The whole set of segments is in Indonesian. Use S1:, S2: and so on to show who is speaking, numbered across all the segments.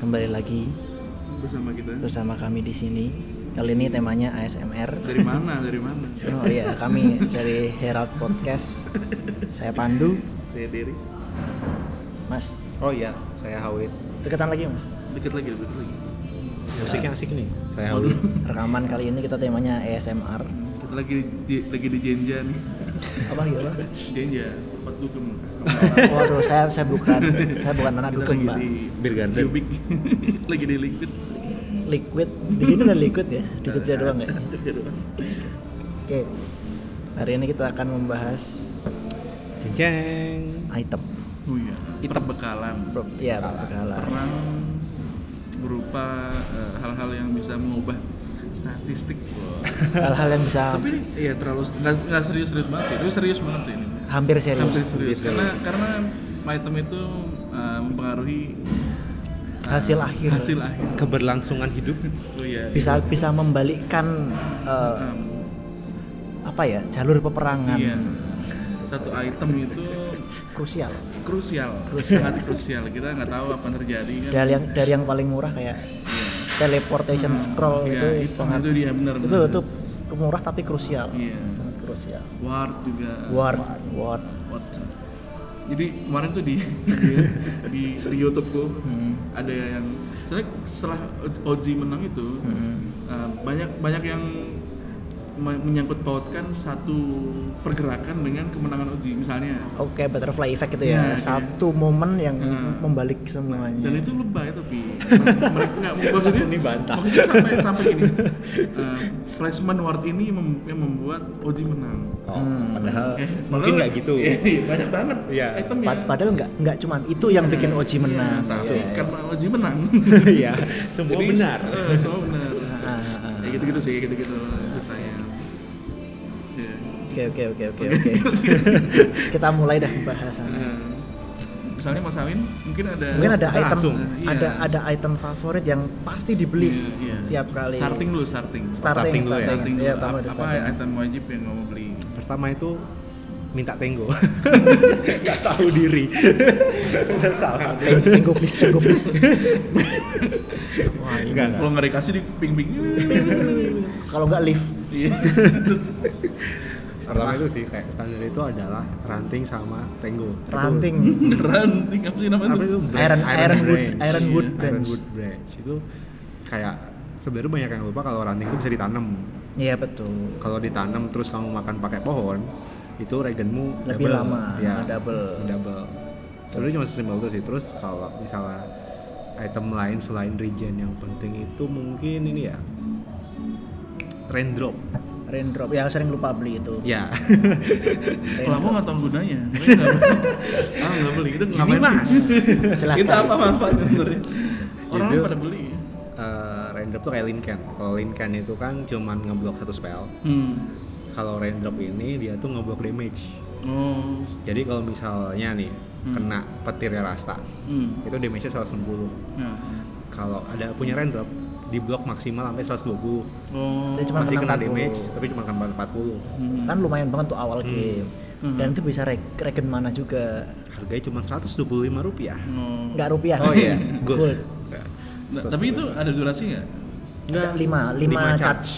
S1: kembali lagi
S2: bersama kita.
S1: bersama kami di sini. Kali ini temanya ASMR.
S2: Dari mana? Dari mana?
S1: Oh iya, kami dari Herald Podcast. Saya Pandu,
S2: Saya Derry.
S1: Mas.
S3: Oh iya, saya Hawit.
S1: Deketan lagi, Mas.
S2: Deket lagi, deket lagi.
S3: Musiknya asik nih. Saya Hawit.
S1: Rekaman kali ini kita temanya ASMR.
S2: Kita lagi di, lagi di Jenja nih.
S1: Apa lagi, Pak?
S2: Jenja, tempat dugem.
S1: Waduh, saya saya bukan saya bukan anak
S2: Kita
S1: dukung,
S2: lagi
S1: Pak.
S2: di
S3: Bir Garden.
S2: Ubik. lagi di Liquid.
S1: Liquid. Di sini udah liquid ya? Di Jogja doang ya?
S2: Jogja doang.
S1: Oke. Hari ini kita akan membahas
S3: Ceng.
S1: item.
S2: Oh iya. Perbekalan.
S1: Pro- Ya, perbekalan.
S2: Perang berupa eh, hal-hal yang bisa mengubah statistik.
S1: Hal-hal yang bisa
S2: Tapi ini iya terlalu nggak nggak serius-serius banget sih. Tapi serius banget sih ini.
S1: hampir
S2: Hampir
S1: serius.
S2: serius.
S3: Serius.
S2: Karena karena item itu eh, mempengaruhi eh,
S1: Hasil akhir.
S2: Hasil akhir.
S3: Keberlangsungan hidup.
S2: Oh iya.
S1: Bisa bisa membalikkan eh,
S2: Um,
S1: apa ya? Jalur peperangan.
S2: iya. Satu item itu
S1: Krusial.
S2: krusial,
S1: Krusial.
S2: sangat krusial. Kita nggak tahu apa yang terjadi kan.
S1: Dari yang dari yang paling murah kayak teleportation scroll
S2: Iya,
S1: itu
S2: itu-
S1: sangat
S2: itu dia, benar,
S1: itu
S2: benar.
S1: itu murah tapi krusial.
S2: Iya.
S1: Sangat krusial.
S2: Ward juga.
S1: Ward, ward.
S2: Ward. Jadi kemarin tuh di di, di, di YouTubeku
S1: Hmm.
S2: ada yang setelah setelah Oji menang itu
S1: Hmm.
S2: Uh, banyak banyak yang me- menyangkut pautkan satu pergerakan dengan kemenangan uji misalnya
S1: Oke, butterfly effect gitu ya.
S2: Iya,
S1: Satu momen yang
S2: Hmm.
S1: membalik semuanya.
S2: dan itu lebay tapi mereka nggak maksudnya
S3: dibantah.
S2: maksudnya sampai sampai gini uh, placement ward ini mem- yang membuat Oji menang
S3: Oh,
S1: Hmm.
S3: padahal
S2: Eh,
S3: mungkin
S2: padahal-
S3: nggak gitu.
S1: Eh.
S2: Iya, iya, banyak banget
S3: Iya.
S2: itemnya
S1: Pad- padahal nggak nggak cuman itu yang bikin Oji menang.
S2: Hmm. Iya, tapi
S1: Iya, iya.
S2: karena Oji menang
S3: Iya, semua
S2: Jadi,
S3: benar.
S2: eh, semua benar
S1: Ah, ah, ah.
S2: ya gitu gitu sih gitu gitu saya Iya.
S1: Oke oke oke oke oke. Kita mulai dah pembahasannya.
S2: Eh, misalnya Mas Awin mungkin ada
S1: Mungkin ada
S3: Kita
S1: item
S3: langsung.
S2: Iya.
S1: ada ada item favorit yang pasti dibeli
S2: Iya, iya.
S1: tiap kali.
S2: starting dulu starting
S1: starting,
S3: Starting dulu ya.
S1: starting.
S2: starting dulu
S1: Iya, pertama
S2: apa,
S1: ada
S2: apa
S1: starting.
S2: item wajib yang kamu beli
S3: Pertama itu minta tenggo. Gak tahu diri. Udah salah.
S1: Teng- Tenggo please, tenggo please. Wah, ini.
S3: Enggak,
S2: kalau
S3: enggak.
S2: nggak dikasih di Iya. ping ping
S1: Kalau nggak lift.
S3: Pertama itu sih kayak standar itu adalah ranting sama tenggo. Itu-
S1: ranting,
S2: Hmm. ranting apa sih namanya
S3: apa itu
S2: tuh?
S3: branch?
S1: Iron- ironwood-
S3: branch.
S1: ironwood
S3: Iya,
S1: branch.
S3: ironwood branch itu kayak sebenarnya banyak yang lupa kalau ranting itu bisa ditanam
S1: iya betul.
S3: kalau ditanam terus kamu makan pakai pohon itu regenmu
S1: Lebih
S3: double.
S1: lama, ah,
S3: ya,
S1: double.
S3: double sebenarnya cuma sesimpel itu sih terus kalau misalnya item lain selain regen yang penting itu mungkin ini ya raindrop
S1: Raindrop ya sering lupa beli itu.
S3: ya
S2: kalau aku nggak tahu gunanya makanya nggak beli. ah nggak beli itu ngapain
S3: Mas.
S1: Jelas
S2: itu
S1: sekali.
S2: apa manfaatnya sebenarnya orang
S3: Itu-
S2: pada beli ya?
S3: Eh, raindrop tuh kayak linkan kalau linkan itu kan cuman ngeblok satu spell
S2: hmm.
S3: kalau raindrop ini dia tuh ngeblok damage
S2: oh
S3: jadi kalau misalnya nih kena petirnya rasta
S2: hmm.
S3: itu damage-nya 160
S2: Ya.
S3: kalau ada punya raindrop di blok maksimal sampai 120
S2: oh
S1: Jadi cuma
S3: masih kena
S1: 40.
S3: damage tapi cuma kena 40
S2: hmm.
S1: Kan lumayan banget tuh awal game. Dan itu bisa reg- regen mana juga.
S3: harganya cuma 125 rupiah
S2: Oh.
S1: Nggak rupiah.
S3: oh iya
S1: Gold.
S3: gold
S2: Nah, tapi itu ada durasi nggak
S1: Ada lima, lima
S3: Lima
S1: charge.
S3: charge.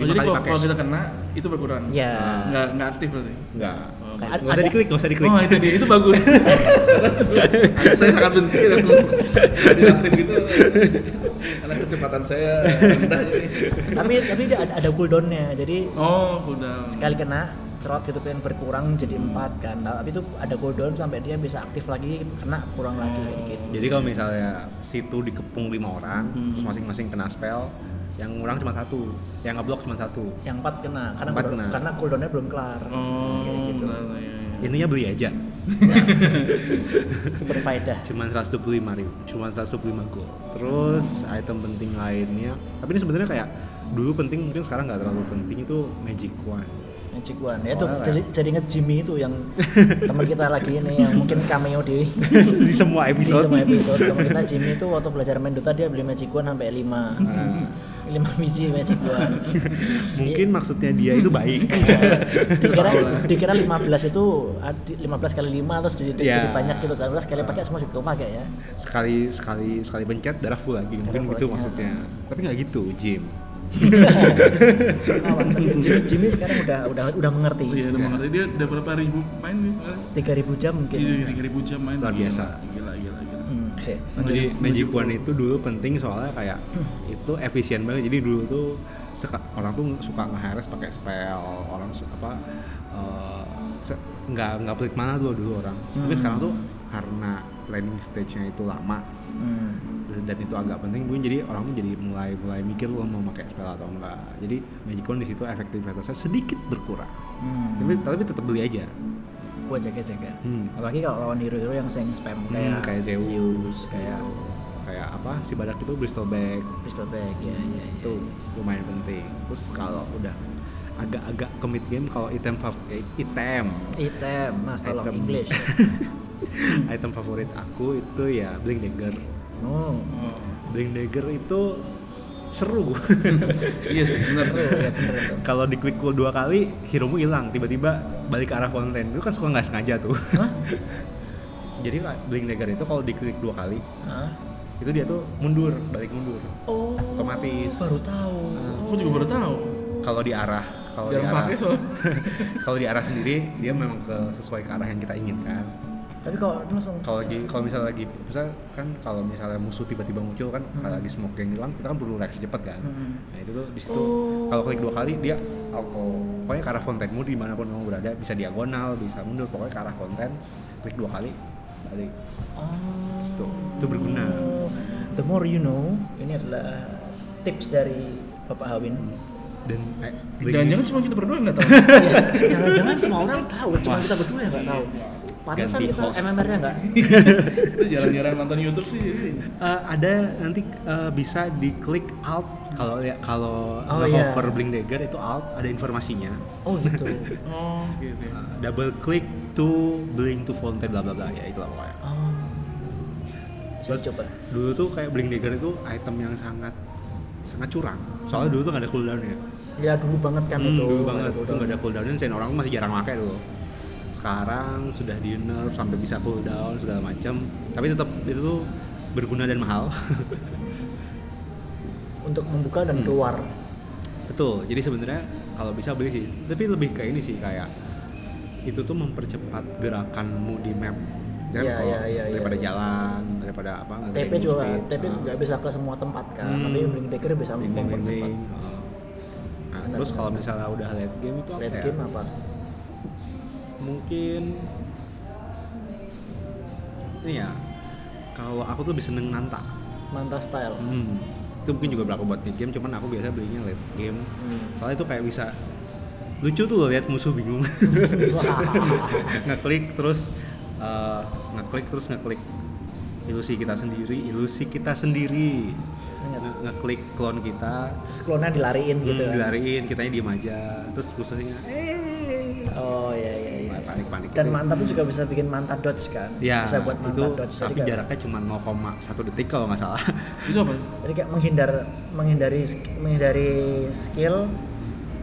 S2: Oh,
S3: Lima
S2: jadi
S3: kali
S2: kalau
S3: pakai.
S2: kalau kita kena itu berkurang
S1: Ya.
S2: nggak nggak aktif berarti
S3: enggak
S2: Oh,
S1: Kayak
S3: nggak usah
S1: ada- iya.
S3: diklik nggak usah diklik
S2: Oh itu dia, itu bagus. saya sangat benci dan aktif gitu. Karena kecepatan saya rendah jadi.
S1: tapi tapi dia ada, ada cooldownnya. Jadi
S2: Oh, udah.
S1: sekali kena cerot gitu kan berkurang jadi empat kan. Nah, tapi itu ada cooldown sampai dia bisa aktif lagi kena kurang lagi kayak gitu.
S3: jadi kalau misalnya situ dikepung lima orang
S1: Hmm.
S3: terus masing-masing kena spell yang ngurang cuma satu yang ngeblok cuma satu
S1: Yang empat kena karena
S3: Empat
S1: cooldown-
S3: kena.
S1: karena cooldownnya belum kelar.
S2: Oh,
S1: Kayak gitu.
S2: udah, ya, ya.
S3: intinya beli aja
S1: Itu berfaedah.
S3: cuman 125 ribu cuman 125 gold terus item penting lainnya tapi ini sebenarnya kayak dulu penting mungkin sekarang nggak terlalu penting itu magic wand
S1: Magic One. Ya itu
S3: Soalnya
S1: jadi, jadi nge-Jimmy itu yang teman kita lagi ini yang mungkin cameo di
S3: di semua
S1: di
S3: episode.
S1: semua episode. Teman kita Jimmy itu waktu belajar main Dota dia beli Magic One sampai 5. 5
S3: Nah,
S1: biji Magic One.
S3: mungkin
S1: Iya.
S3: maksudnya dia itu baik.
S1: Eh, dikira dikira 15 itu ah, di- 15 kali 5 terus jadi,
S3: Ya.
S1: jadi banyak gitu kan. Terus kali pakai semua juga kau pakai ya.
S3: sekali sekali sekali pencet darah full lagi mungkin
S1: full lagi,
S3: gitu
S1: iya.
S3: maksudnya. Tapi nggak gitu, Jim.
S1: Awal. Tapi Ah, Jimmy, Jimmy sekarang udah udah udah mengerti.
S2: Iya, udah mengerti dia udah berapa ribu main nih? Pak?
S1: 3000 jam mungkin.
S2: Gitu, 3000 jam main.
S3: Luar biasa.
S2: Gila, gila, gila.
S1: Hmm, sih.
S3: Jadi Magic One itu dulu penting soalnya kayak itu efisien banget. Jadi dulu tuh seka- orang tuh suka ngehares pakai spell, orang su- apa eh, se- nggak nggak pelit mana dulu dulu orang. Tapi
S1: Hmm.
S3: sekarang tuh karena landing stage-nya itu lama
S1: Hmm.
S3: dan itu agak penting mungkin jadi orang tuh jadi mulai mulai mikir lo mau pakai spell atau enggak. Jadi Magic One di situ efektivitasnya sedikit berkurang.
S1: Hmm.
S3: Tapi tapi tetap beli aja.
S1: buat jaga-jaga.
S3: Hmm.
S1: Apalagi kalau lawan hero-hero yang sering spam
S3: Hmm,
S1: kayak,
S3: kayak Zeus,
S1: kayak
S3: kayak kayak apa si badak itu Bristol Bag
S1: pistol back ya, ya, ya.
S3: itu lumayan penting terus kalau udah agak-agak commit game kalau item fav- eh, item
S1: Item, mas tolong
S3: Item.
S1: English.
S3: item favorit aku itu ya blink dagger
S1: Oh,
S2: Oh.
S3: blink dagger itu seru
S2: Iya sih, benar.
S1: seru ya bener itu.
S3: kalau diklik cool dua kali hero-mu hilang tiba-tiba balik ke arah konten itu kan suka nggak sengaja tuh
S1: Hah?
S3: jadi blink dagger itu kalau diklik dua kali
S1: Hah?
S3: itu dia tuh mundur balik mundur
S1: Oh,
S3: Otomatis.
S1: Baru tahu.
S2: Ah, Aku juga baru tahu.
S3: kalau di arah kalau di
S2: Jarang
S3: arah
S2: pakai soalnya.
S3: kalau di arah sendiri dia memang ke sesuai ke arah yang kita inginkan
S1: Tapi kalau itu langsung
S3: kalau lagi kalau misalnya lagi misalnya kan kalau misalnya musuh tiba-tiba muncul kan
S2: Hmm.
S3: kalau lagi smoke yang hilang kita kan perlu reaksi cepat kan
S1: Hmm.
S3: nah itu tuh di situ kalau klik dua kali dia auto pokoknya ke arah kontenmu dimanapun kamu berada bisa diagonal bisa mundur pokoknya ke arah konten klik dua kali balik
S1: Oh.
S3: itu itu berguna
S1: The more you know, ini adalah tips dari Bapak Hawin.
S3: Hmm. dan eh,
S2: Jangan-jangan cuma kita berdua yang nggak tahu.
S1: Ya, Jangan-jangan semua orang tahu, cuma kita berdua yang nggak tahu. Pantesan
S3: Ganti
S1: kita
S3: host.
S1: MMR-nya nggak?
S2: Kita jarang-jarang nonton YouTube sih. ini.
S3: Eh, ada nanti eh, bisa diklik alt kalau ya kalau
S1: Oh, iya.
S3: hover blink dagger itu alt ada informasinya
S1: Oh gitu.
S2: Oh, gitu. ya.
S3: Eh, double click to blink to fountain bla bla bla ya itulah pokoknya
S1: Oh. Saya
S3: Terus
S1: coba.
S3: dulu tuh kayak blink dagger itu item yang sangat sangat curang soalnya dulu tuh nggak ada cooldownnya
S1: Ya dulu banget kan
S3: Hmm,
S1: itu.
S3: dulu banget tuh nggak ada cooldownnya dan orang masih jarang pakai dulu sekarang sudah di nerf sampai bisa cooldown segala macam tapi tetap itu tuh berguna dan mahal
S1: Untuk membuka
S3: Hmm.
S1: dan keluar.
S3: Betul. Jadi sebenarnya kalau bisa beli sih, tapi lebih ke ini sih kayak itu tuh mempercepat gerakanmu di map. Kan
S1: Iya,
S3: kalau
S1: iya, iya, iya.
S3: daripada jalan, daripada apa?
S1: TP juga, TP
S3: ah.
S1: nggak bisa ke semua tempat kan.
S3: Hmm.
S1: Tapi Blink Dagger bisa mempercepat.
S3: ah. Nah,
S1: Benar, benar,
S3: terus kalau misalnya udah late game itu apa
S1: Late
S3: ya?
S1: game apa?
S3: Mungkin ini ya. Kalau aku tuh lebih seneng nanta.
S1: Manta style.
S3: Hmm. Itu mungkin juga berlaku buat mid game, cuman aku biasa belinya late game.
S1: Hmm.
S3: Soalnya itu kayak bisa lucu tuh loh lihat musuh bingung. ngeklik terus eh, ngeklik terus ngeklik ilusi kita sendiri, ilusi kita sendiri.
S1: Ingat.
S3: Nge- ngeklik klon kita,
S1: Terus klonnya dilariin
S3: hmm,
S1: Iya. gitu. kan.
S3: dilariin, kitanya diem aja. Terus musuhnya eh
S1: Oh iya iya iya.
S3: panik-panik.
S1: Dan
S3: gitu.
S1: mantap tuh juga bisa bikin manta dodge kan.
S3: Ya,
S1: bisa buat
S3: itu
S1: manta dodge. Jadi
S3: tapi
S1: kayak-
S3: jaraknya cuma 0,1 detik kalau nggak salah.
S2: Itu apa?
S1: Jadi kayak menghindar menghindari sk- menghindari skill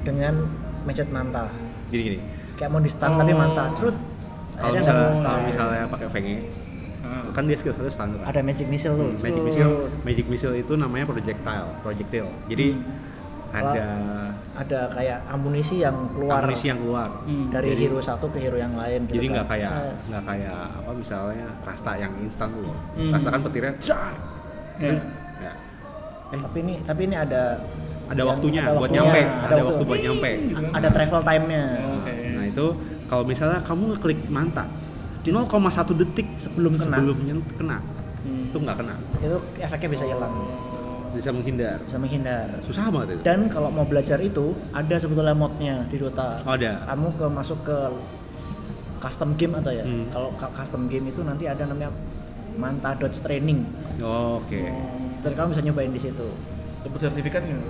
S1: dengan mencet manta.
S3: Jadi gini,
S1: Kayak mau di stun tapi
S2: Oh.
S1: manta. Cerut.
S3: kalau
S1: Akhirnya
S3: misalnya,
S1: nggak mau
S3: kalau
S1: stun.
S3: misalnya pakai Fenge,
S2: Ah.
S3: kan dia skill satu standar.
S1: ada magic missile tuh.
S3: Hmm, magic
S1: Tuh.
S3: missile, magic missile itu namanya projectile, projectile. Jadi ada
S1: Ada kayak amunisi yang Hmm. keluar Iya.
S3: amunisi yang keluar.
S2: Hmm.
S1: dari
S3: Jadi-
S1: hero satu ke hero yang lain. gitu
S3: Jadi
S1: kan.
S3: nggak kayak
S1: Yes.
S3: nggak kayak apa misalnya rasta yang instan tuh. loh.
S2: Hmm.
S3: Rasta kan petirnya jar.
S2: Ya.
S3: Ya. Eh,
S1: Tapi ini tapi ini ada
S3: ada
S1: yang-
S3: waktunya
S1: ada
S3: buat
S1: waktunya,
S3: nyampe,
S1: Ada,
S3: ada, waktu buat nyampe. gitu kan.
S1: Ada travel time-nya.
S2: Oke.
S3: Nah, itu kalau misalnya kamu ngeklik manta 0,1 detik sebelum
S1: kena.
S3: sebelumnya kena.
S2: Hmm.
S3: Itu nggak kena.
S1: Itu efeknya bisa hilang,
S3: Bisa menghindar.
S1: bisa menghindar.
S3: Susah banget itu.
S1: Dan kalau mau belajar itu ada sebetulnya modnya di Dota.
S3: Oh, ada.
S1: Kamu ke masuk ke custom game atau ya.
S3: Hmm.
S1: Kalau ka- custom game itu nanti ada namanya Manta Dodge Training.
S3: Oke.
S1: Oh. Jadi kamu bisa nyobain di situ.
S2: Dapat sertifikat nggak?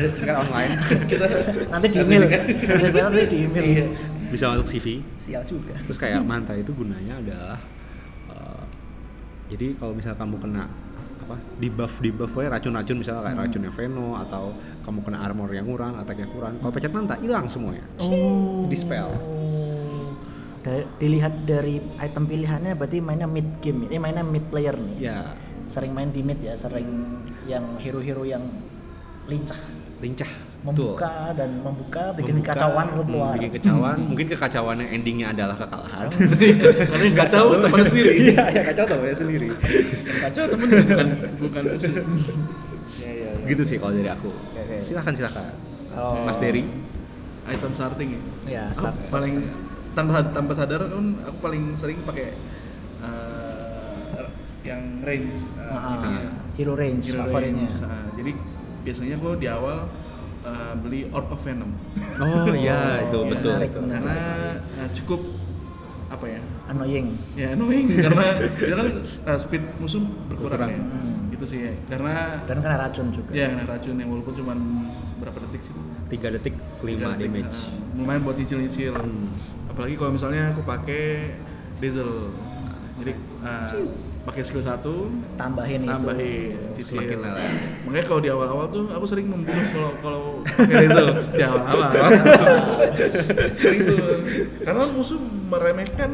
S3: ada sertifikat online
S2: kita
S1: nanti di email
S2: Sertifikat.
S1: sertifikat nanti di email
S2: Iya.
S3: bisa masuk CV
S1: sial juga
S3: terus kayak
S1: Hmm.
S3: manta itu gunanya adalah eh, jadi kalau misal kamu kena apa di buff di buff ya racun-racun misalnya
S1: Hmm.
S3: kayak racunnya Veno atau kamu kena armor yang kurang attack yang kurang kalau pencet manta hilang semuanya
S1: oh
S3: Dispel.
S1: Da- dilihat dari item pilihannya berarti mainnya mid game ini mainnya mid player nih
S3: ya
S1: sering main di mid ya sering yang hero-hero yang lincah
S3: lincah Betul.
S1: membuka dan membuka bikin
S3: Membuka,
S1: kacauan lu
S3: hmm,
S1: keluar Oh.
S3: bikin kacauan mungkin kekacauan yang endingnya adalah kekalahan
S2: karena yang kacau teman sendiri
S3: iya ya kacau temannya sendiri
S2: Yang kacau temen bukan bukan musuh. ya, ya, ya.
S3: Iya, gitu sih kalau dari aku
S1: oke. Oh.
S3: silahkan silahkan
S2: Oh.
S1: Kalau-
S3: Mas Dery
S2: item starting ya
S1: ya
S2: Aku
S1: start
S2: paling tanpa tanpa sadar kan aku paling sering pakai eh, yang range eh,
S1: Ah,
S2: ini
S3: Iya.
S2: ya.
S1: hero range
S2: Hero
S1: favoritnya
S2: range, ah. jadi biasanya aku di awal eh, beli Orb of Venom
S3: oh
S1: iya,
S3: iya itu
S1: iya,
S3: betul
S1: menarik,
S3: betul.
S1: menarik.
S2: karena eh, cukup apa ya
S1: annoying
S2: ya annoying karena dia kan eh, speed musuh berkurang, ya
S3: Hmm.
S1: Berkurang.
S2: itu sih ya. karena
S1: dan kena racun juga
S2: Ya,
S3: Iya.
S2: kena racun yang walaupun cuma berapa detik sih.
S3: tiga detik
S2: Tiga
S3: lima
S2: detik,
S3: damage
S2: nah, lumayan buat nyicil-nyicil.
S3: Hmm.
S2: Apalagi kalau misalnya aku pakai diesel. Jadi eh, pakai skill satu
S1: tambahin, itu
S2: tambahin cicil.
S3: Semakin lele.
S2: Makanya kalau di awal-awal tuh aku sering membunuh kalau kalau pakai diesel di awal-awal. sering tuh. Karena musuh meremehkan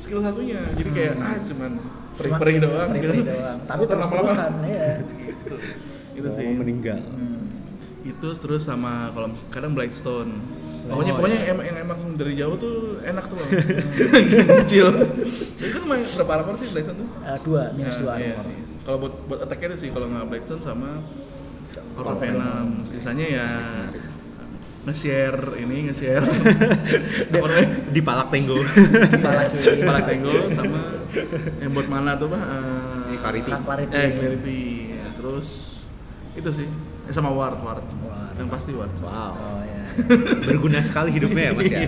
S2: skill satunya. Jadi kayak ah cuman
S1: Cuma
S2: peri-peri doang.
S1: peri-peri Hmm.
S2: gitu.
S1: doang. tapi terus
S2: Lama-lama-
S1: terusan ya
S2: Gitu. Gitu
S3: Mau
S2: sih
S3: Oh, meninggal
S1: Hmm.
S2: itu terus sama kalau mis- kadang Blightstone pokoknya
S1: Oh,
S2: pokoknya
S1: iya.
S2: yang emang, yang emang dari jauh tuh enak tuh loh kecil itu kan main berapa armor sih Blightstone tuh
S1: Eh, dua minus
S2: Nah,
S1: dua
S2: iya,
S1: armor.
S2: iya. kalau buat buat attack itu sih kalau nggak Blightstone sama iya. Horror Venom sisanya ya nge-share ini nge-share apa namanya
S3: di palak tenggo
S1: Dua lagi
S2: Palak Tenggol sama yang buat mana tuh pak? Eh,
S3: Eh, Clarity.
S1: Sang Clarity.
S2: Eh Clarity. Ya, terus itu sih Eh, sama Ward Ward. Yang pasti Ward.
S3: wow
S1: oh ya
S3: berguna sekali hidupnya ya mas ya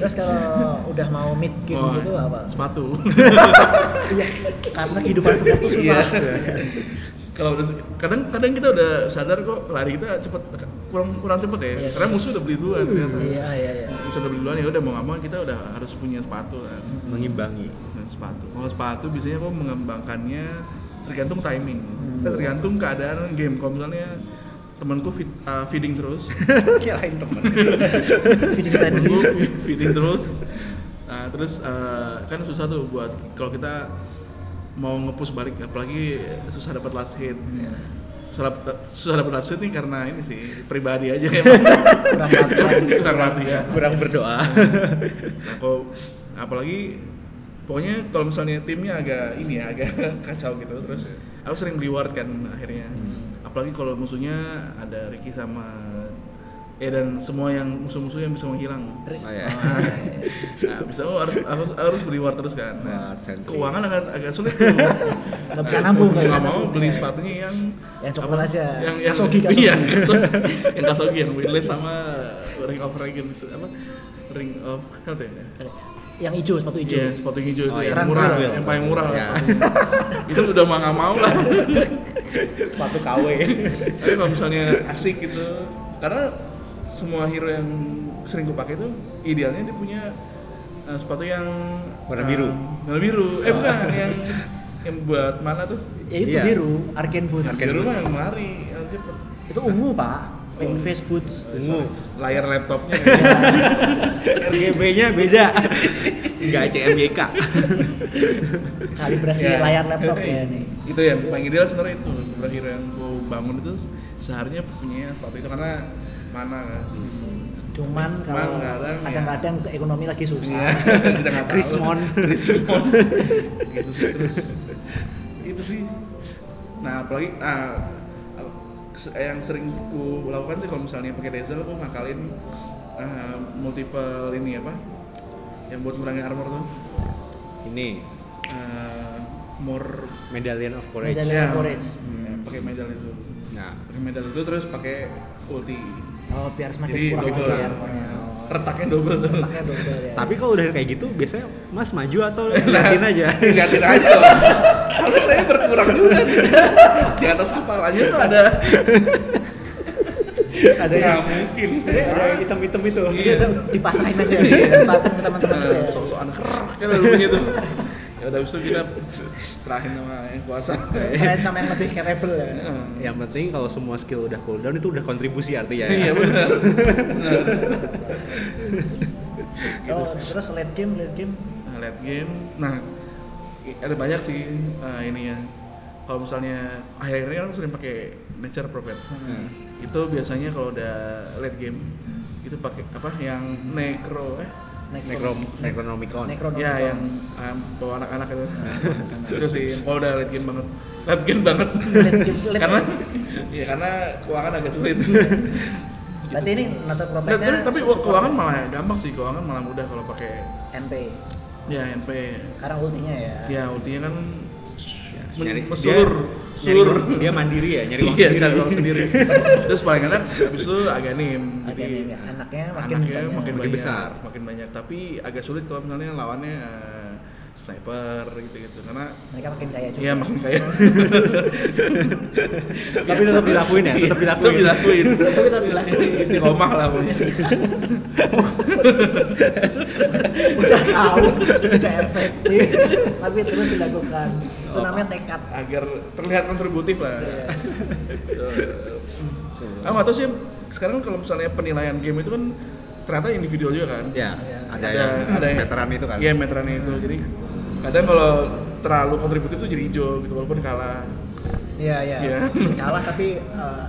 S1: terus kalau udah mau mid game
S2: Wah,
S1: gitu apa
S2: Sepatu.
S1: iya karena kehidupan support tuh susah
S2: Kalau udah kadang-kadang kita udah sadar kok lari kita cepet kurang kurang cepet ya.
S1: Yes.
S2: Karena musuh udah beli duluan ternyata.
S1: iya iya iya
S2: Musuh udah beli duluan ya udah mau nggak mau kita udah harus punya sepatu kan.
S3: mengimbangi
S2: Nah, sepatu. Kalau sepatu biasanya aku mengembangkannya tergantung timing.
S1: Hmm.
S2: Kita tergantung keadaan game. Kalau misalnya temanku fit, uh, feeding terus,
S3: kirain temen
S1: iya. video tensi
S2: temanku fi- feeding terus, uh, terus uh, kan susah tuh buat kalau kita mau ngepush balik, apalagi susah dapat last hit.
S1: Hmm.
S2: Susah dapat susah dapat last hit nih karena ini sih pribadi aja emang
S1: kurang latihan
S2: kita ya. latihan.
S3: kurang berdoa
S2: Nah, kalau apalagi pokoknya kalau misalnya timnya agak ini ya, agak kacau gitu. Terus aku sering beli ward kan akhirnya. Apalagi kalau musuhnya ada Ricky sama eh dan semua yang musuh-musuh yang bisa menghilang.
S3: oh, ya.
S2: Nah, nah, bisa aku harus, harus, harus beli ward terus kan. Nah,
S3: Ward, sentry.
S2: keuangan agak agak sulit tuh. Nggak
S1: bisa nambung, nggak bisa
S2: mau
S1: nambung.
S2: beli sepatunya yang
S1: Yang coklat
S2: apa,
S1: aja.
S2: Yang yang
S1: Kasogi, kasogi.
S2: Iya, kasogi. yang kasogi yang windless sama ring of regen apa ring of health ya.
S1: yang hijau sepatu hijau
S2: Iya, sepatu yang hijau
S3: Oh,
S2: itu
S3: iya.
S2: yang murah,
S3: Tranquil.
S2: yang paling murah lah
S3: Iya.
S2: sepatunya. itu udah mau nggak mau lah.
S3: sepatu KW
S2: Tapi kalau misalnya asik gitu, karena semua hero yang sering gue pakai itu idealnya dia punya eh, sepatu yang
S3: Warna
S2: eh,
S3: biru.
S2: warna biru. Eh bukan, yang yang buat mana tuh?
S1: ya itu
S3: Iya.
S1: biru arcane boots
S2: Yang biru mah yang lari, yang cepet.
S1: itu ungu pak pink face boots
S3: ungu
S2: Layar laptopnya.
S1: Iya.
S2: Iya.
S3: RGB nya beda nggak CMYK
S1: kalibrasi
S2: Ya.
S1: layar laptop ya nih
S2: itu yang paling ideal sebenarnya itu Bener hero yang gue bangun itu seharusnya punya sepatu itu karena mana kan
S1: cuman kalau
S2: kadang ya.
S1: kadang-kadang ekonomi lagi
S2: Iya,
S1: susah
S2: kita nggak tahu.
S3: Krismon.
S2: Krismon. gitu sih terus itu sih nah apalagi ah, se- eh, yang sering ku lakukan sih kalau misalnya pakai diesel aku ngakalin ah, multiple ini apa yang buat ngurangin armor tuh
S3: ini
S2: ah, more
S3: Medallion of Courage
S1: Medallion.
S2: ya,
S1: courage.
S2: ya, pakai medal itu
S3: nah
S2: pakai medal itu terus pakai ulti
S1: oh biar semakin
S2: Jadi
S1: kurang
S2: double.
S1: lagi armornya Oh.
S2: retaknya double tuh
S1: Letaknya double ya
S2: Nah.
S3: tapi kalau udah kayak gitu biasanya mas maju atau liatin aja
S2: liatin aja lah Harus saya berkurang juga nih. Di atas kepalanya tuh ada
S3: ada
S2: nggak
S3: yang
S2: mungkin.
S3: ada yang hitam-hitam itu
S2: Iya.
S1: Dipasarin aja, dipasarin ke teman-teman aja.
S2: Nah, sok-sokan kerah kan bunyi tuh. Ya udah besok kita serahin sama yang kuasa.
S1: Selain sama yang lebih capable ya.
S2: Iya.
S3: yang penting kalau semua skill udah cooldown itu udah kontribusi artinya ya
S2: Iya benar. Benar. gitu
S1: Oh, terus late game, late game.
S2: Nah, late game. Nah, i- ada banyak sih eh, ini ya. Kalau misalnya akhirnya orang sering pakai nature profit. Itu biasanya kalau udah late game itu pakai apa yang necro eh
S3: Necrom Necronomicon
S1: Necronomicon.
S2: ya yang um, bawa anak-anak
S1: Nah,
S2: itu. itu sih kalau udah late game banget. Late game banget.
S1: Late game, late
S2: karena
S1: game.
S2: ya karena keuangan agak sulit.
S1: Berarti ini nata
S2: Nah,
S1: profitnya
S2: tapi, tapi keuangan malah gampang sih, keuangan malah mudah kalau pakai
S1: NP.
S2: ya NP
S1: Karena ultinya ya.
S2: Ya, ultinya kan men-
S3: Nyari-
S2: mesulur,
S3: dia,
S2: sulur.
S3: nyari- dia mandiri ya nyari uang
S2: Iya,
S3: sendiri.
S2: cari uang sendiri. Terus paling enak habis itu aganim. Jadi
S1: Aganim, ya. Anaknya makin
S2: anaknya
S1: banyak.
S2: makin,
S3: Makin
S2: banyak,
S3: besar.
S2: makin banyak. Tapi agak sulit kalau misalnya lawannya eh, sniper gitu-gitu karena
S1: Mereka makin kaya juga.
S2: Iya makin kaya.
S3: Tapi tetap dilakuin ya, tetap dilakuin.
S2: Tetap dilakuin.
S1: Tapi tetap dilakuin.
S2: Istiqomah lah pokoknya.
S1: Udah tahu, udah efektif, tapi terus dilakukan. Itu
S2: Oh.
S1: namanya tekad.
S2: agar terlihat kontributif lah.
S1: Iya.
S2: Ah, nggak tahu sih sekarang kalau misalnya penilaian game itu kan ternyata individual juga kan.
S3: ya
S1: Iya.
S3: ada, yang veteran itu kan
S2: Iya, meteran itu. Jadi kadang kalau terlalu kontributif tuh jadi hijau gitu walaupun kalah.
S1: Iya, iya.
S2: Iya.
S1: Kalah tapi eh,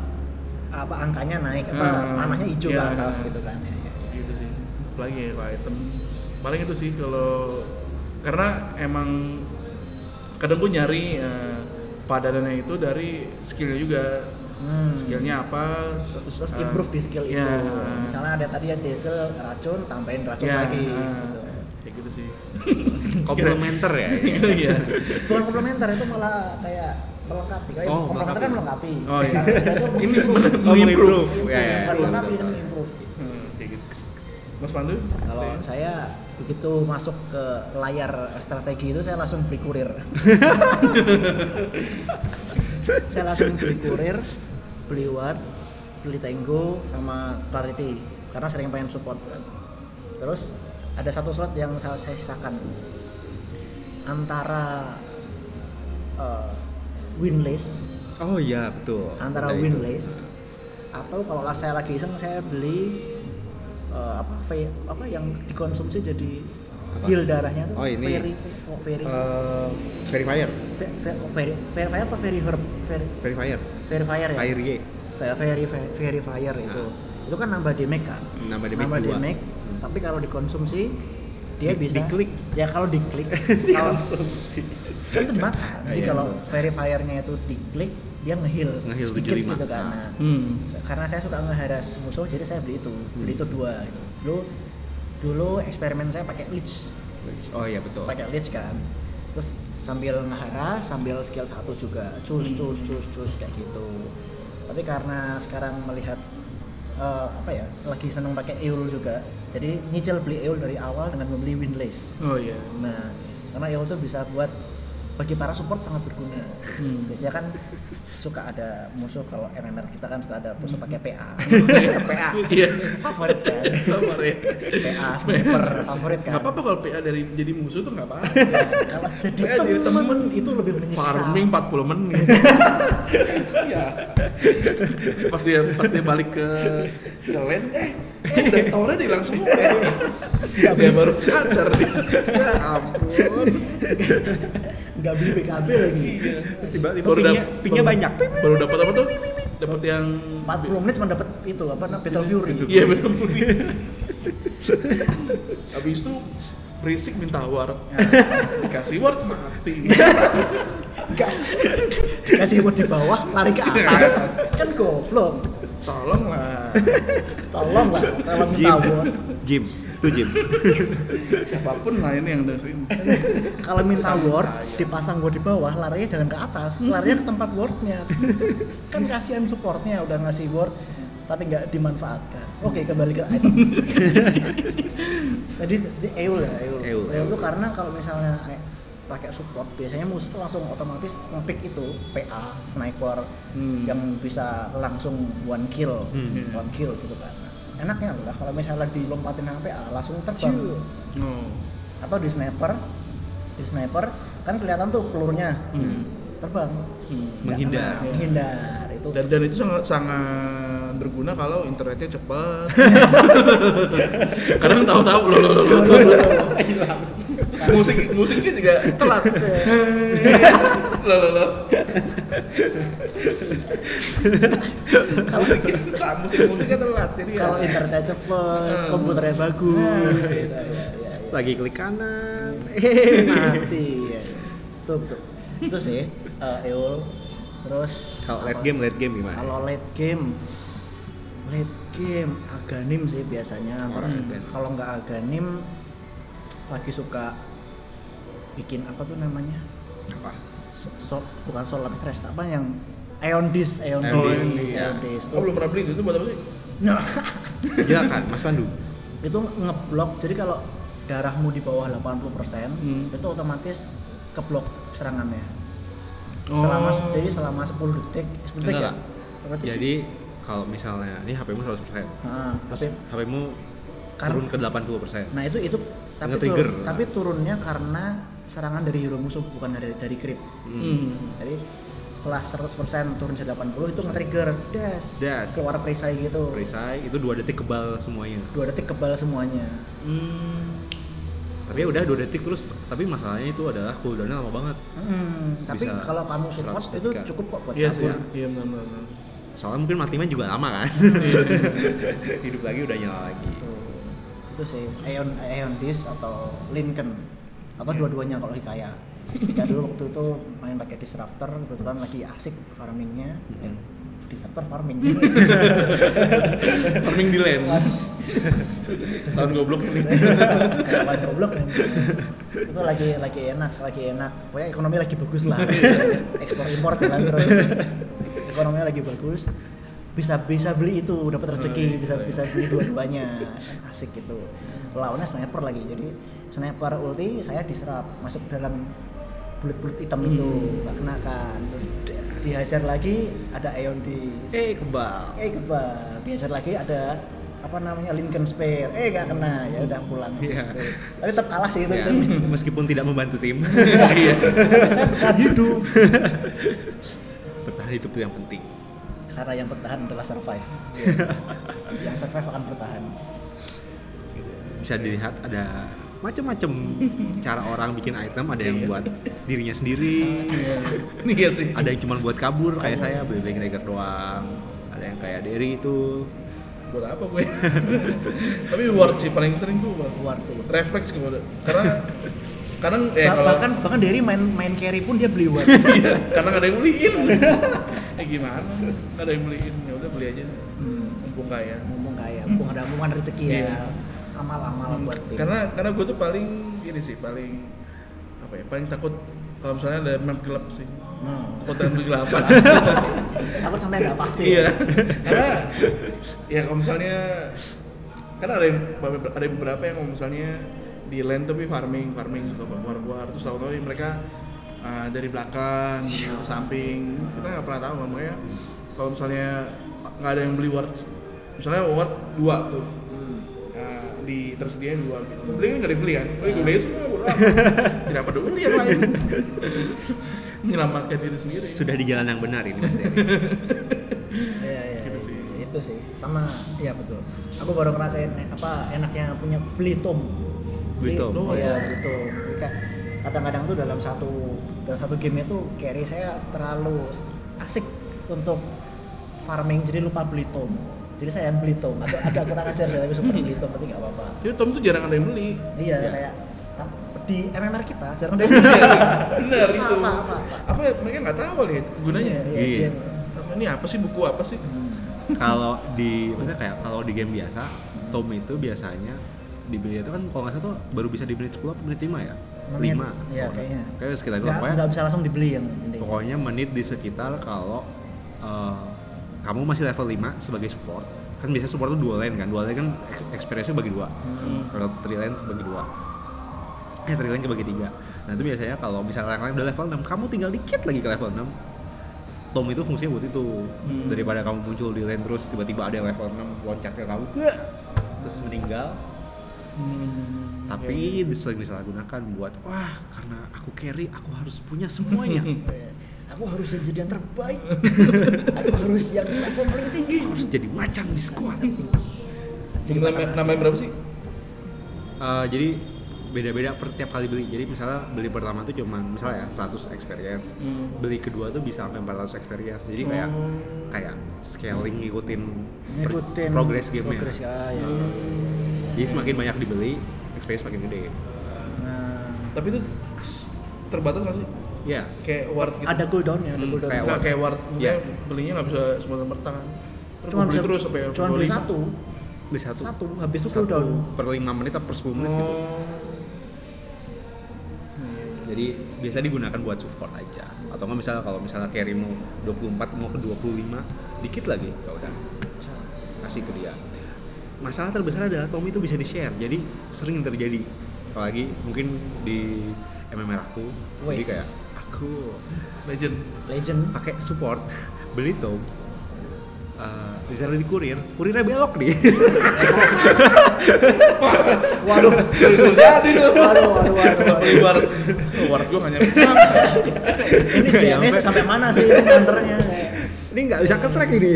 S1: apa angkanya naik, apa
S2: Ah,
S1: panahnya hijau ke
S2: iya.
S1: atas gitu kan. Ya, ya.
S2: Gitu sih. Apalagi ya kalau item. Paling itu sih kalau karena emang kadang gue nyari eh, padanannya itu dari skillnya juga
S1: Hmm.
S2: skillnya apa
S1: terus, terus
S2: eh,
S1: improve di skill
S2: iya,
S1: itu. Misalnya ada tadi yang diesel racun, tambahin racun
S2: iya,
S1: lagi.
S2: eh,
S1: Gitu.
S2: kayak gitu sih
S3: komplementer ya
S2: iya
S1: Bukan komplementer itu malah kayak melengkapi. Kayak
S3: Oh,
S1: komplementer kan melengkapi.
S2: oh iya
S1: Kalau ada itu
S2: ini
S1: improve.
S2: men-
S3: Oh,
S2: improve
S3: improve.
S1: Improve,
S3: Ya, ya,
S1: bukan
S3: iya,
S1: melengkapi,
S3: betul.
S1: ini improve.
S2: Hmm, kayak gitu mas Pandu
S1: Kalau saya begitu masuk ke layar strategi itu saya langsung beli kurir. saya langsung beli kurir, beli Watt, beli Tango sama Clarity karena sering pengen support kan. Terus ada satu slot yang saya, saya sisakan antara eh, winless
S3: oh iya betul
S1: antara
S3: Ada itu.
S1: winless atau kalau lah saya lagi iseng saya beli eh, apa fe- apa yang dikonsumsi jadi
S3: Apa?
S1: heal darahnya tuh
S3: Oh, ini.
S1: fairy kok fairy sih?
S3: Eh, verifier
S1: Fe- fe- kok fairy fairy fire apa fairy herb fairy
S3: verifier
S1: fairy fire ya
S3: Fire Ye.
S1: Fe- fairy fe- fairy fire itu itu kan nambah damage kan
S3: Ah. Nambah damage dua. Hmm.
S1: tapi kalau dikonsumsi dia
S3: Di-
S1: bisa
S3: diklik.
S1: ya kalau diklik kalau
S3: dikonsumsi
S1: kan itu dimakan jadi
S3: Iya.
S1: kalau verifiernya itu diklik dia ngeheal
S3: Ngeheal
S1: sedikit
S3: 75.
S1: gitu kan
S3: Ah.
S1: Nah,
S2: hmm.
S1: Se- karena saya suka ngeharas musuh jadi saya beli itu beli itu dua gitu dulu dulu eksperimen saya pakai leech
S3: oh iya betul
S1: pakai leech kan terus sambil ngeharas sambil skill satu juga cus cus cus cus kayak gitu tapi karena sekarang melihat eh, apa ya lagi seneng pakai eul juga jadi nyicil beli eul dari awal dengan membeli windlace
S2: oh iya
S1: nah karena eul tuh bisa buat bagi para support sangat berguna
S2: Hmm.
S1: biasanya kan suka ada musuh kalau MMR kita kan suka ada musuh pakai PA PA
S2: Iya.
S1: favorit kan
S2: Sabar ya.
S1: PA sniper favorit kan
S2: Gak apa-apa kalau PA dari jadi musuh tuh gak apa-apa.
S1: Ya, kalau jadi
S2: PA jadi
S1: temen,
S2: temen.
S1: itu lebih menyiksa
S2: Farming 40 menit. Iya. pas dia pas dia balik ke ke land, eh eh, udah tore deh langsung ya.
S1: Iya,
S2: dia baru sadar dia. Ya ampun.
S1: nggak beli BKB
S2: Iya.
S1: lagi
S3: terus tiba-tiba
S2: Baru
S3: pingnya,
S2: dap-
S3: pingnya
S2: baru-
S3: banyak
S2: Baru dapat apa tuh? Dapat yang
S1: 40 menit cuma dapat itu apa namanya Battle Fury
S2: Iya betul. Habis itu berisik minta war. Dikasih war mati.
S1: Nggak. kasih buat di bawah lari ke atas
S2: Iya.
S1: kan goblok
S2: Tolonglah.
S1: tolong lah tolong
S3: Jim
S1: tahu
S3: Jim itu Jim
S2: Siapapun lah ini yang dengerin.
S1: kalau minta
S2: Sama
S1: word
S2: saya.
S1: dipasang word di bawah larinya jangan ke atas larinya ke tempat wordnya kan kasihan supportnya udah ngasih word tapi nggak dimanfaatkan oke kembali ke item tadi di- eul ya eul
S3: Eul.
S1: E
S3: E
S1: eul itu karena kalau misalnya eh, pakai support biasanya musuh tuh langsung otomatis ngepick itu PA sniper
S2: Hmm.
S1: yang bisa langsung one kill
S3: Hmm.
S1: one kill gitu kan enaknya lah kalau misalnya dilompatin sama PA langsung terbang
S3: Ciu.
S2: Oh.
S1: atau di sniper di sniper kan kelihatan tuh pelurunya
S2: Hmm.
S1: terbang Ih, nggak
S3: Menghindar.
S1: kena, menghindar itu
S2: Dan, dan itu sangat sangat berguna kalau internetnya cepat. Kadang tahu-tahu lo lo lo lo, lo, lo. Terus musik musiknya juga telat. lo lo lo.
S1: kalau
S2: Musik musiknya telat jadi ya.
S1: kalau internetnya cepet
S2: Hmm.
S1: komputernya
S3: Hmm.
S1: bagus gitu. ya, ya, ya.
S3: lagi klik kanan
S1: mati ya. Tuh, tuh. itu sih eh, Eul terus
S3: kalau
S1: apa-
S3: late game late game gimana
S1: kalau late game late game aganim sih biasanya
S3: Orang
S1: Hmm.
S3: aganim.
S1: kalau nggak aganim lagi suka bikin apa tuh namanya
S3: apa
S1: so, so- bukan solar crash apa yang Aeon Disk, Aeon
S3: Aeon
S1: Disk,
S3: Disk, ya.
S1: Aeon Disk.
S2: Aku iya. oh, belum pernah beli itu, itu buat apa sih?
S1: Nah,
S3: silakan Iya kan, mas pandu
S1: itu ngeblok jadi kalau darahmu di bawah 80%
S2: Hmm.
S1: itu otomatis keblok serangannya selama
S2: Oh.
S1: jadi selama 10 detik 10 detik
S3: Enggak,
S1: ya? Berapa detik sih?
S3: jadi kalau misalnya ini HP-mu 100%
S1: Nah,
S3: terus
S1: tapi
S3: HP-mu
S1: Karena-
S3: turun ke 80%
S1: nah itu itu tapi
S3: Nge-trigger.
S1: turun- tapi turunnya karena serangan dari hero musuh bukan dari dari creep
S2: Hmm.
S1: jadi setelah 100% turun ke 80 itu nge-trigger das,
S3: Das.
S1: keluar perisai gitu
S3: perisai itu dua detik kebal semuanya
S1: dua detik kebal semuanya
S2: Hmm.
S3: tapi ya udah dua detik terus tapi masalahnya itu adalah cooldownnya lama banget
S1: Mm, tapi
S3: Bisa
S1: kalau kamu support
S3: 100
S1: itu
S3: detik.
S1: cukup kok buat
S2: Iya sih.
S1: kabur Gitu.
S2: ya. Iya benar benar. benar.
S3: soalnya mungkin matinya juga lama kan
S1: Iya.
S3: hidup lagi udah nyala lagi
S1: Tuh. itu sih Aeon Aeon Disk atau Lincoln atau
S2: Iya.
S1: dua-duanya kalau hikaya ya dulu waktu itu main pakai disruptor kebetulan lagi asik farmingnya eh, disruptor farming
S2: Farming di lens. Tahun goblok ini.
S1: Kawan goblok nih. itu lagi lagi enak lagi enak pokoknya ekonomi lagi bagus lah ekspor impor jalan terus ekonominya lagi bagus bisa bisa beli itu dapat rezeki bisa bisa beli dua-duanya asik gitu lawannya sniper lagi jadi sniper ulti saya diserap masuk dalam bulut-bulut hitam itu nggak kenakan terus dihajar lagi ada Aeon di
S3: eh kebal
S1: eh kebal biasa lagi ada apa namanya Lincoln Spare eh gak kena ya udah pulang
S3: Iya.
S1: habis itu. tapi tetap kalah sih itu,
S2: Iya.
S3: Ya,
S1: itu.
S3: meskipun tidak membantu tim
S1: Iya. saya bertahan hidup
S3: bertahan hidup itu yang penting
S1: karena yang bertahan adalah survive yang survive akan bertahan Iya.
S3: bisa dilihat ada macam-macam cara orang bikin item ada
S1: Iya.
S3: yang buat dirinya sendiri
S2: Ini ya sih.
S3: ada yang cuma buat kabur
S1: Iya.
S3: kayak saya beli beli dagger doang ada yang kayak Derry itu
S2: buat apa gue tapi reward sih paling sering tuh buat
S1: keluar sih
S2: refleks gue udah. karena kadang eh
S1: Bah-
S2: kalau
S1: bahkan bahkan dari main main carry pun dia beli war
S2: Iya, karena gak ada yang beliin eh gimana gak ada yang beliin ya udah beli aja
S1: hmm,
S2: mumpung ya. kaya
S1: mumpung kaya mumpung ada mumpung ada rezeki ya
S2: Iya.
S1: amal-amal buat tim
S2: karena karena gue tuh paling ini sih paling apa ya paling takut kalau misalnya ada map gelap sih
S1: hmm.
S2: takut ada kegelapan
S1: takut sampai nggak pasti
S2: iya karena ya kalau misalnya kan ada yang ada yang beberapa yang kalau misalnya di land tapi farming farming suka keluar keluar terus tahu-tahu mereka uh, dari belakang dari samping kita nggak pernah tahu makanya kalau misalnya nggak ada yang beli ward misalnya ward dua tuh
S1: Hmm.
S2: uh, di tersediain dua gitu beli kan nggak dibeli kan oh, gue beli semua bodo amat. tidak peduli yang lain menyelamatkan diri sendiri
S3: sudah di jalan yang benar ini Mas Derry
S1: Iya, iya,
S2: Gitu
S1: iya.
S2: sih.
S1: itu sih sama ya betul aku baru ngerasain eh, apa enaknya punya beli tom
S3: Beli tom.
S2: Oh,
S1: iya
S2: iya.
S1: beli tom Kayak kadang-kadang tuh dalam satu dalam satu game itu carry saya terlalu asik untuk farming jadi lupa beli tom jadi saya yang beli tom ada ada kurang ajar saya tapi super beli tom tapi nggak apa-apa
S2: jadi Tom tuh jarang ada yang beli
S1: iya
S3: Iya.
S1: kayak tap- di MMR kita jarang ada
S2: bener itu
S1: Apa, apa, apa?
S2: Apa, mereka nggak tahu kali ya gunanya
S1: Iya, iya,
S3: Iya.
S1: game.
S2: ini apa sih buku apa sih
S1: Hmm.
S3: kalau di maksudnya kayak kalau di game biasa Tom itu biasanya dibeli itu kan kalau nggak salah tuh baru bisa dibeli 10 atau menit 5 ya
S1: Menit,
S3: 5
S1: iya, kayaknya.
S3: kayak sekitar itu ya?
S1: nggak
S3: pokoknya,
S1: nggak bisa langsung dibeli yang penting
S3: pokoknya menit di sekitar kalau eh, kamu masih level 5 sebagai support kan biasanya support tuh dua lane kan dua lane kan ex- experience-nya bagi dua
S1: Hmm.
S3: kalau three lane bagi dua eh three lane kebagi tiga Nah itu biasanya kalau misalnya orang lain udah level 6, kamu tinggal dikit lagi ke level 6. Tom itu fungsinya buat itu.
S2: Hmm.
S3: Daripada kamu muncul di lane terus tiba-tiba ada yang level 6 loncat ke kamu, "Wah!" terus meninggal.
S2: Hmm,
S3: Tapi sering disalahgunakan buat wah karena aku carry aku harus punya semuanya.
S1: aku harus yang jadi yang terbaik aku harus yang level paling tinggi
S3: Aku harus jadi macan di squad.
S1: Jadi
S2: Nama-
S1: macam
S2: namanya berapa sih?
S3: Eh, jadi beda-beda per tiap kali beli. Jadi misalnya beli pertama tuh cuman misalnya 100 experience.
S2: Hmm.
S3: Beli kedua tuh bisa sampai 400 experience. Jadi kayak
S2: Oh.
S3: kayak scaling ngikutin, per-
S1: ngikutin
S3: progress game
S1: progress, ya, ya, ya, ya.
S3: Jadi semakin banyak dibeli, experience makin gede.
S1: Nah,
S2: Tapi itu s- terbatas nggak sih?
S3: Ya.
S2: Kayak ward gitu.
S1: ada cooldownnya ada
S3: Hmm,
S1: cooldown
S3: kayak
S2: Nggak, kayak ward. Maksudnya
S3: Iya.
S2: belinya nggak bisa semua merta kan. Terus
S1: cuma
S2: gua beli terus sampai
S1: cuma beli
S2: 25.
S1: satu
S3: Beli satu.
S1: Satu, habis itu
S3: Satu
S1: cooldown.
S3: Per 5 menit atau per 10 menit gitu.
S2: Oh.
S3: Jadi biasa digunakan buat support aja. Atau nggak misalnya kalau misalnya carry mau 24 mau ke 25 dikit lagi ya udah kasih ke dia. Masalah terbesar adalah Tommy itu bisa di-share. Jadi sering terjadi. Apalagi mungkin di MMR aku. Jadi
S1: Wes.
S3: kayak aku
S2: Legend.
S1: legend
S3: pakai support beli Tom eh misalnya di kurir, kurirnya belok nih.
S1: waduh
S2: Jadi tuh.
S1: waduh waduh waduh, waduh.
S2: Beli ward. Oh, Ward gue nggak nyampe.
S1: ini
S3: Nggak
S1: JNS
S3: nyampe.
S1: sampai mana sih itu kantornya kayak.
S3: ini nggak bisa ke track ini.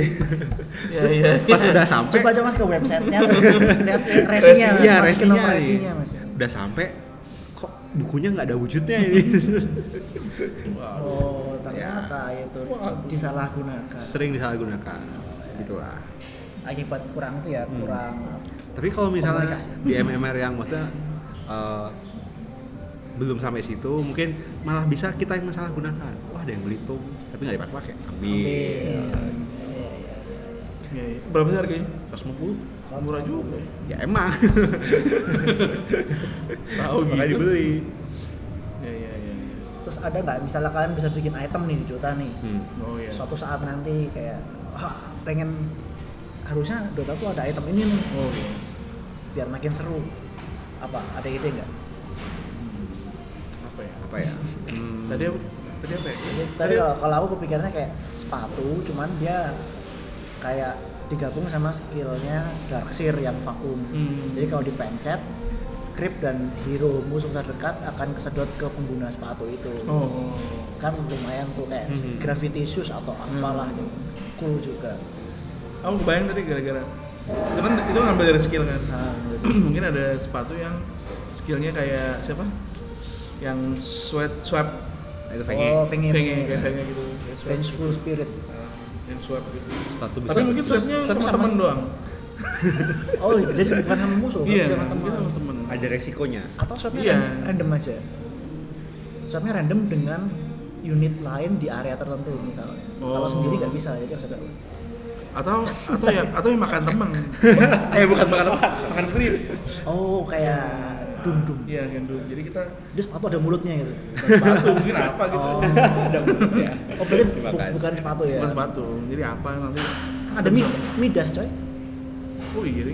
S2: Iya iya.
S3: Pas udah sampai,
S1: coba coba mas ke websitenya terus lihat eh, racingnya
S3: Racing.
S1: Mas.
S3: Iya,
S1: Masukin
S3: racingnya
S1: nomor
S3: nih.
S1: racingnya mas ya.
S3: udah sampai kok bukunya nggak ada wujudnya ini.
S1: oh
S2: Ya.
S1: ternyata itu disalahgunakan
S3: Sering disalahgunakan, gitu gitulah.
S1: akibat kurang itu ya
S3: Hmm.
S1: kurang
S2: Iya.
S3: Tapi kalau misalnya
S1: Komunikasi.
S3: di MMR yang maksudnya eh, belum sampai situ, mungkin malah bisa kita yang gunakan. Wah ada yang beli tuh, tapi nggak dipakai-pakai. Ambil.
S1: iya,
S2: Iya, iya. Berapa sih harganya?
S3: 150
S2: Murah juga. ya.
S3: ya emang
S2: Tahu
S3: makanya
S2: gitu.
S3: dibeli
S2: Iya iya iya.
S1: terus ada nggak misalnya kalian bisa bikin item nih di Dota nih
S3: hmm.
S2: Oh iya.
S1: suatu saat nanti kayak "Wah, pengen harusnya Dota tuh ada item ini nih
S2: Oh iya.
S1: biar makin seru apa ada ide nggak
S2: Apa ya?
S3: apa ya hmm.
S2: Tadi apa? Tadi apa ya?
S1: tadi kalau, Iya, kalau aku kepikirannya kayak sepatu cuman dia kayak digabung sama skillnya Darkseer yang vakum
S2: Hmm.
S1: jadi kalau dipencet creep dan hero musuh terdekat akan kesedot ke pengguna sepatu itu
S2: Oh, oh.
S1: kan lumayan tuh kayak
S3: Hmm.
S1: gravity shoes atau
S2: Hmm.
S1: apalah gitu cool juga
S2: Aku kebayang tadi gara-gara itu kan itu ngambil dari skill kan.
S1: nah, gitu.
S2: Mungkin ada sepatu yang skillnya kayak siapa? Yang sweat swap
S3: Nah, itu pengen
S1: Oh, Fenge.
S2: Fenge, kayak Fenge gitu. Kayak swap.
S1: vengeful spirit
S2: Nah, Yang swap gitu.
S3: sepatu bisa
S2: Tapi mungkin swapnya
S1: swap
S2: sama
S1: sama-
S2: temen doang.
S1: oh jadi bukan sama musuh tapi
S2: Iya,
S1: sama
S2: mungkin
S1: teman
S2: sama temen.
S3: ada resikonya
S1: atau swapnya
S2: Iya.
S1: random, random aja swapnya random dengan unit lain di area tertentu misalnya
S2: Oh.
S1: kalau sendiri nggak bisa jadi harus ada
S2: Atau atau ya atau yang makan temen.
S3: eh bukan bukan bukan
S2: makan krip.
S1: oh kayak dum dum
S2: Iya, gitu. Jadi kita
S1: dia sepatu ada mulutnya gitu
S2: sepatu mungkin apa gitu.
S1: oh,
S3: ada mulutnya
S1: oh berarti bu-
S3: Dimakan.
S1: bukan sepatu ya
S2: Bukan sepatu. Jadi apa nanti?
S1: Kan ada mi midas coy
S2: Oh iya. Ri.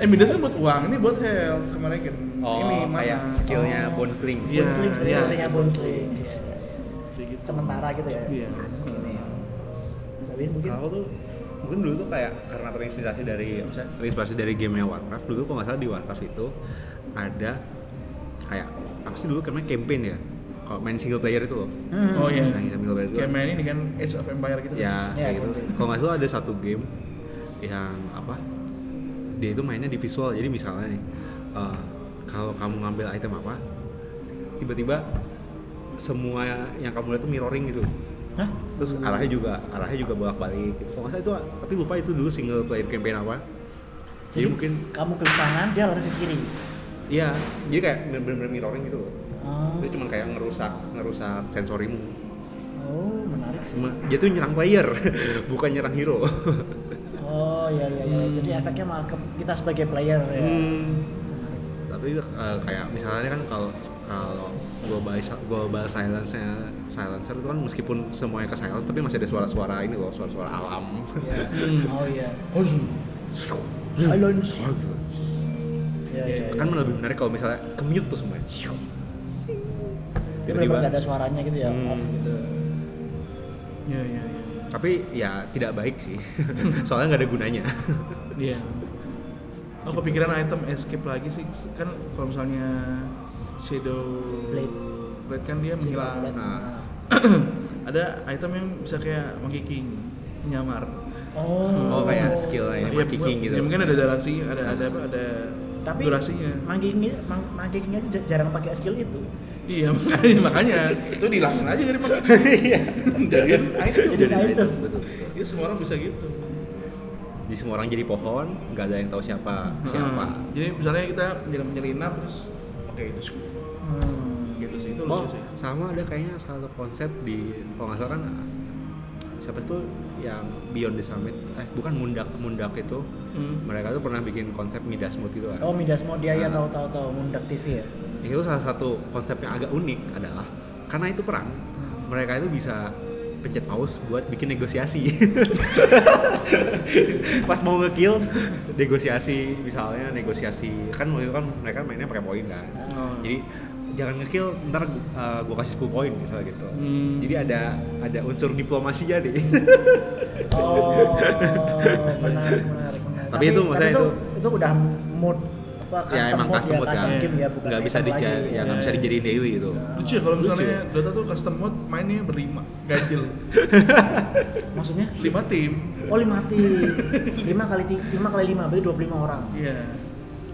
S2: eh Midas kan buat uang, ini buat health sama Regen.
S3: oh
S2: ini mana?
S3: kayak skillnya
S1: Oh.
S3: bone clings
S2: Iya,
S1: Bonsling, sebenarnya
S2: iya.
S1: artinya bonsling.
S2: Dikit.
S1: sementara gitu ya
S2: Iya.
S1: Gini. Mas Abin mungkin
S3: kalau tuh mungkin dulu tuh kayak karena terinspirasi dari maksudnya terinspirasi dari game Warcraft dulu kalau nggak salah di Warcraft itu ada kayak apa sih dulu namanya campaign ya kalau main single player itu loh
S1: Hmm.
S2: Oh iya.
S3: Nah, single player itu
S2: Kayak main ini kan Age of Empire gitu. kan?
S3: ya
S1: Ya,
S3: kayak gitu
S1: konten.
S3: kalau nggak salah ada satu game yang apa dia itu mainnya di visual jadi misalnya nih eh, kalau kamu ngambil item apa tiba-tiba semua yang kamu lihat tuh mirroring gitu
S1: Hah?
S3: terus
S1: Hmm.
S3: arahnya juga arahnya juga bolak-balik gitu. kalau nggak salah itu tapi lupa itu dulu single player campaign apa jadi,
S1: jadi
S3: mungkin
S1: kamu klik kanan dia lari ke kiri
S3: iya jadi kayak bener-bener mirroring gitu loh
S1: oh,
S3: itu cuma kayak ngerusak ngerusak sensorimu
S1: oh menarik sih
S3: Cuma- dia tuh nyerang player bukan nyerang hero
S1: Oh iya iya iya. Jadi efeknya malah ke kita sebagai player ya.
S3: Hmm. tapi eh, kayak misalnya kan kalau kalau global si- global silence silencer itu kan meskipun semuanya ke silence tapi masih ada suara-suara ini loh suara-suara alam
S1: Iya.
S2: Hmm.
S1: Oh iya.
S3: Hmm.
S2: Oh, zoom.
S1: Silence. Iya, iya, iya.
S3: Iya, kan lebih menarik kalau misalnya commute tuh semuanya Syuk.
S1: Dia
S3: tiba-tiba
S1: benar nggak ada suaranya gitu ya,
S3: Hmm.
S1: off gitu.
S2: Iya, iya, iya.
S3: tapi ya tidak baik sih soalnya nggak ada gunanya
S2: Iya. Aku kepikiran item escape lagi sih. Kan kalau misalnya Shadow
S1: Blade.
S2: Blade kan dia
S1: Iya.
S2: menghilang. ah.
S3: Nah.
S2: Ada item yang bisa kayak Monkey King menyamar.
S1: Oh,
S3: Oh, kayak skill lah ya.
S2: Iya,
S3: Monkey King gitu.
S2: Ya mungkin ada durasi, ada ada
S3: Nah.
S2: ada
S1: Tapi
S2: durasinya.
S1: Monkey King, Mang- Monkey King aja j- jarang pakai skill itu.
S2: Iya makanya, makanya itu dihilangin aja dari Monkey King. Iya. dari item.
S1: Jadi
S3: Jadi,
S1: item.
S3: betul, betul.
S2: Ya semua orang bisa gitu.
S3: Jadi semua orang jadi pohon nggak ada yang tahu siapa siapa
S2: Hmm. Jadi misalnya kita menyelam- menyelinap terus pakai itu
S1: Hmm.
S2: gitu sih itu
S3: Oh,
S2: lucu sih.
S3: sama ada kayaknya satu konsep di kalau nggak salah kan siapa itu yang Beyond the Summit eh bukan Mundak Mundak itu
S2: Hmm.
S3: mereka tuh pernah bikin konsep Midas Mode gitu kan.
S1: Oh, Midas Modia ya
S3: Ah.
S1: tahu tahu tahu mundak TV ya.
S3: Itu salah satu konsep yang agak unik adalah karena itu perang mereka itu bisa pencet pause buat bikin negosiasi. Pas mau ngekill negosiasi misalnya negosiasi kan waktu itu kan mereka mainnya pakai poin kan.
S2: Oh.
S3: Jadi jangan ngekill ntar uh, gua kasih 10 poin misalnya gitu.
S2: Hmm.
S3: Jadi ada ada unsur diplomasi jadi.
S1: Oh, menarik, menarik, menarik.
S3: Tapi itu maksudnya
S1: itu,
S3: itu-
S1: itu udah mood apa
S3: ya emang custom mode
S1: Oh, custom
S3: kan.
S1: game ya, bukan
S3: Nggak bisa
S1: item lagi. Iya.
S3: dijadi ya nggak bisa dijadiin daily gitu.
S2: lucu ya kalau
S3: Lucu
S2: misalnya Dota tuh custom mode mainnya berlima ganjil
S1: Maksudnya?
S2: lima tim
S1: Oh lima tim, lima kali ti- lima kali lima berarti dua puluh lima orang.
S2: iya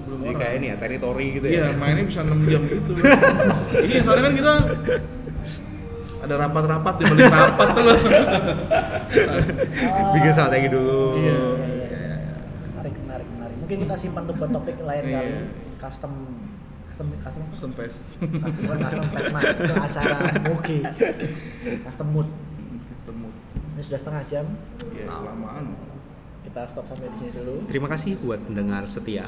S2: belum
S3: Jadi kayak ini ya teritori gitu
S2: iya
S3: ya.
S2: mainnya bisa 6 jam gitu iya soalnya kan kita ada rapat-rapat di balik rapat tuh loh
S3: Bikin strategi dulu.
S2: Iya.
S3: Ya, ya, ya.
S1: Menarik, menarik, menarik. Mungkin kita simpan tuh buat topik lain
S2: Iya.
S1: kali. Custom, custom, custom, custom,
S2: custom fest
S1: bukan custom fest mas. Itu acara oke. Custom mood.
S2: custom mode
S1: Ini sudah setengah jam.
S2: iya kelamaan
S1: Kita stop sampai di sini dulu.
S3: Terima kasih buat pendengar setia.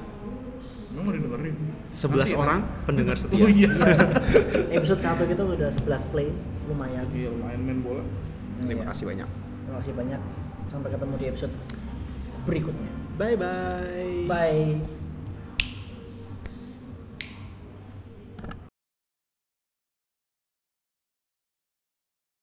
S2: emang mau didengerin
S3: 11
S2: Nanti,
S3: orang pendengar
S2: nanti.
S3: setia.
S2: oh iya
S1: Episode satu gitu udah 11 play, lumayan.
S2: iya lumayan main bola
S1: Iya.
S3: Terima kasih banyak.
S1: Terima kasih banyak. Sampai ketemu di episode berikutnya.
S3: Bye bye.
S1: Bye.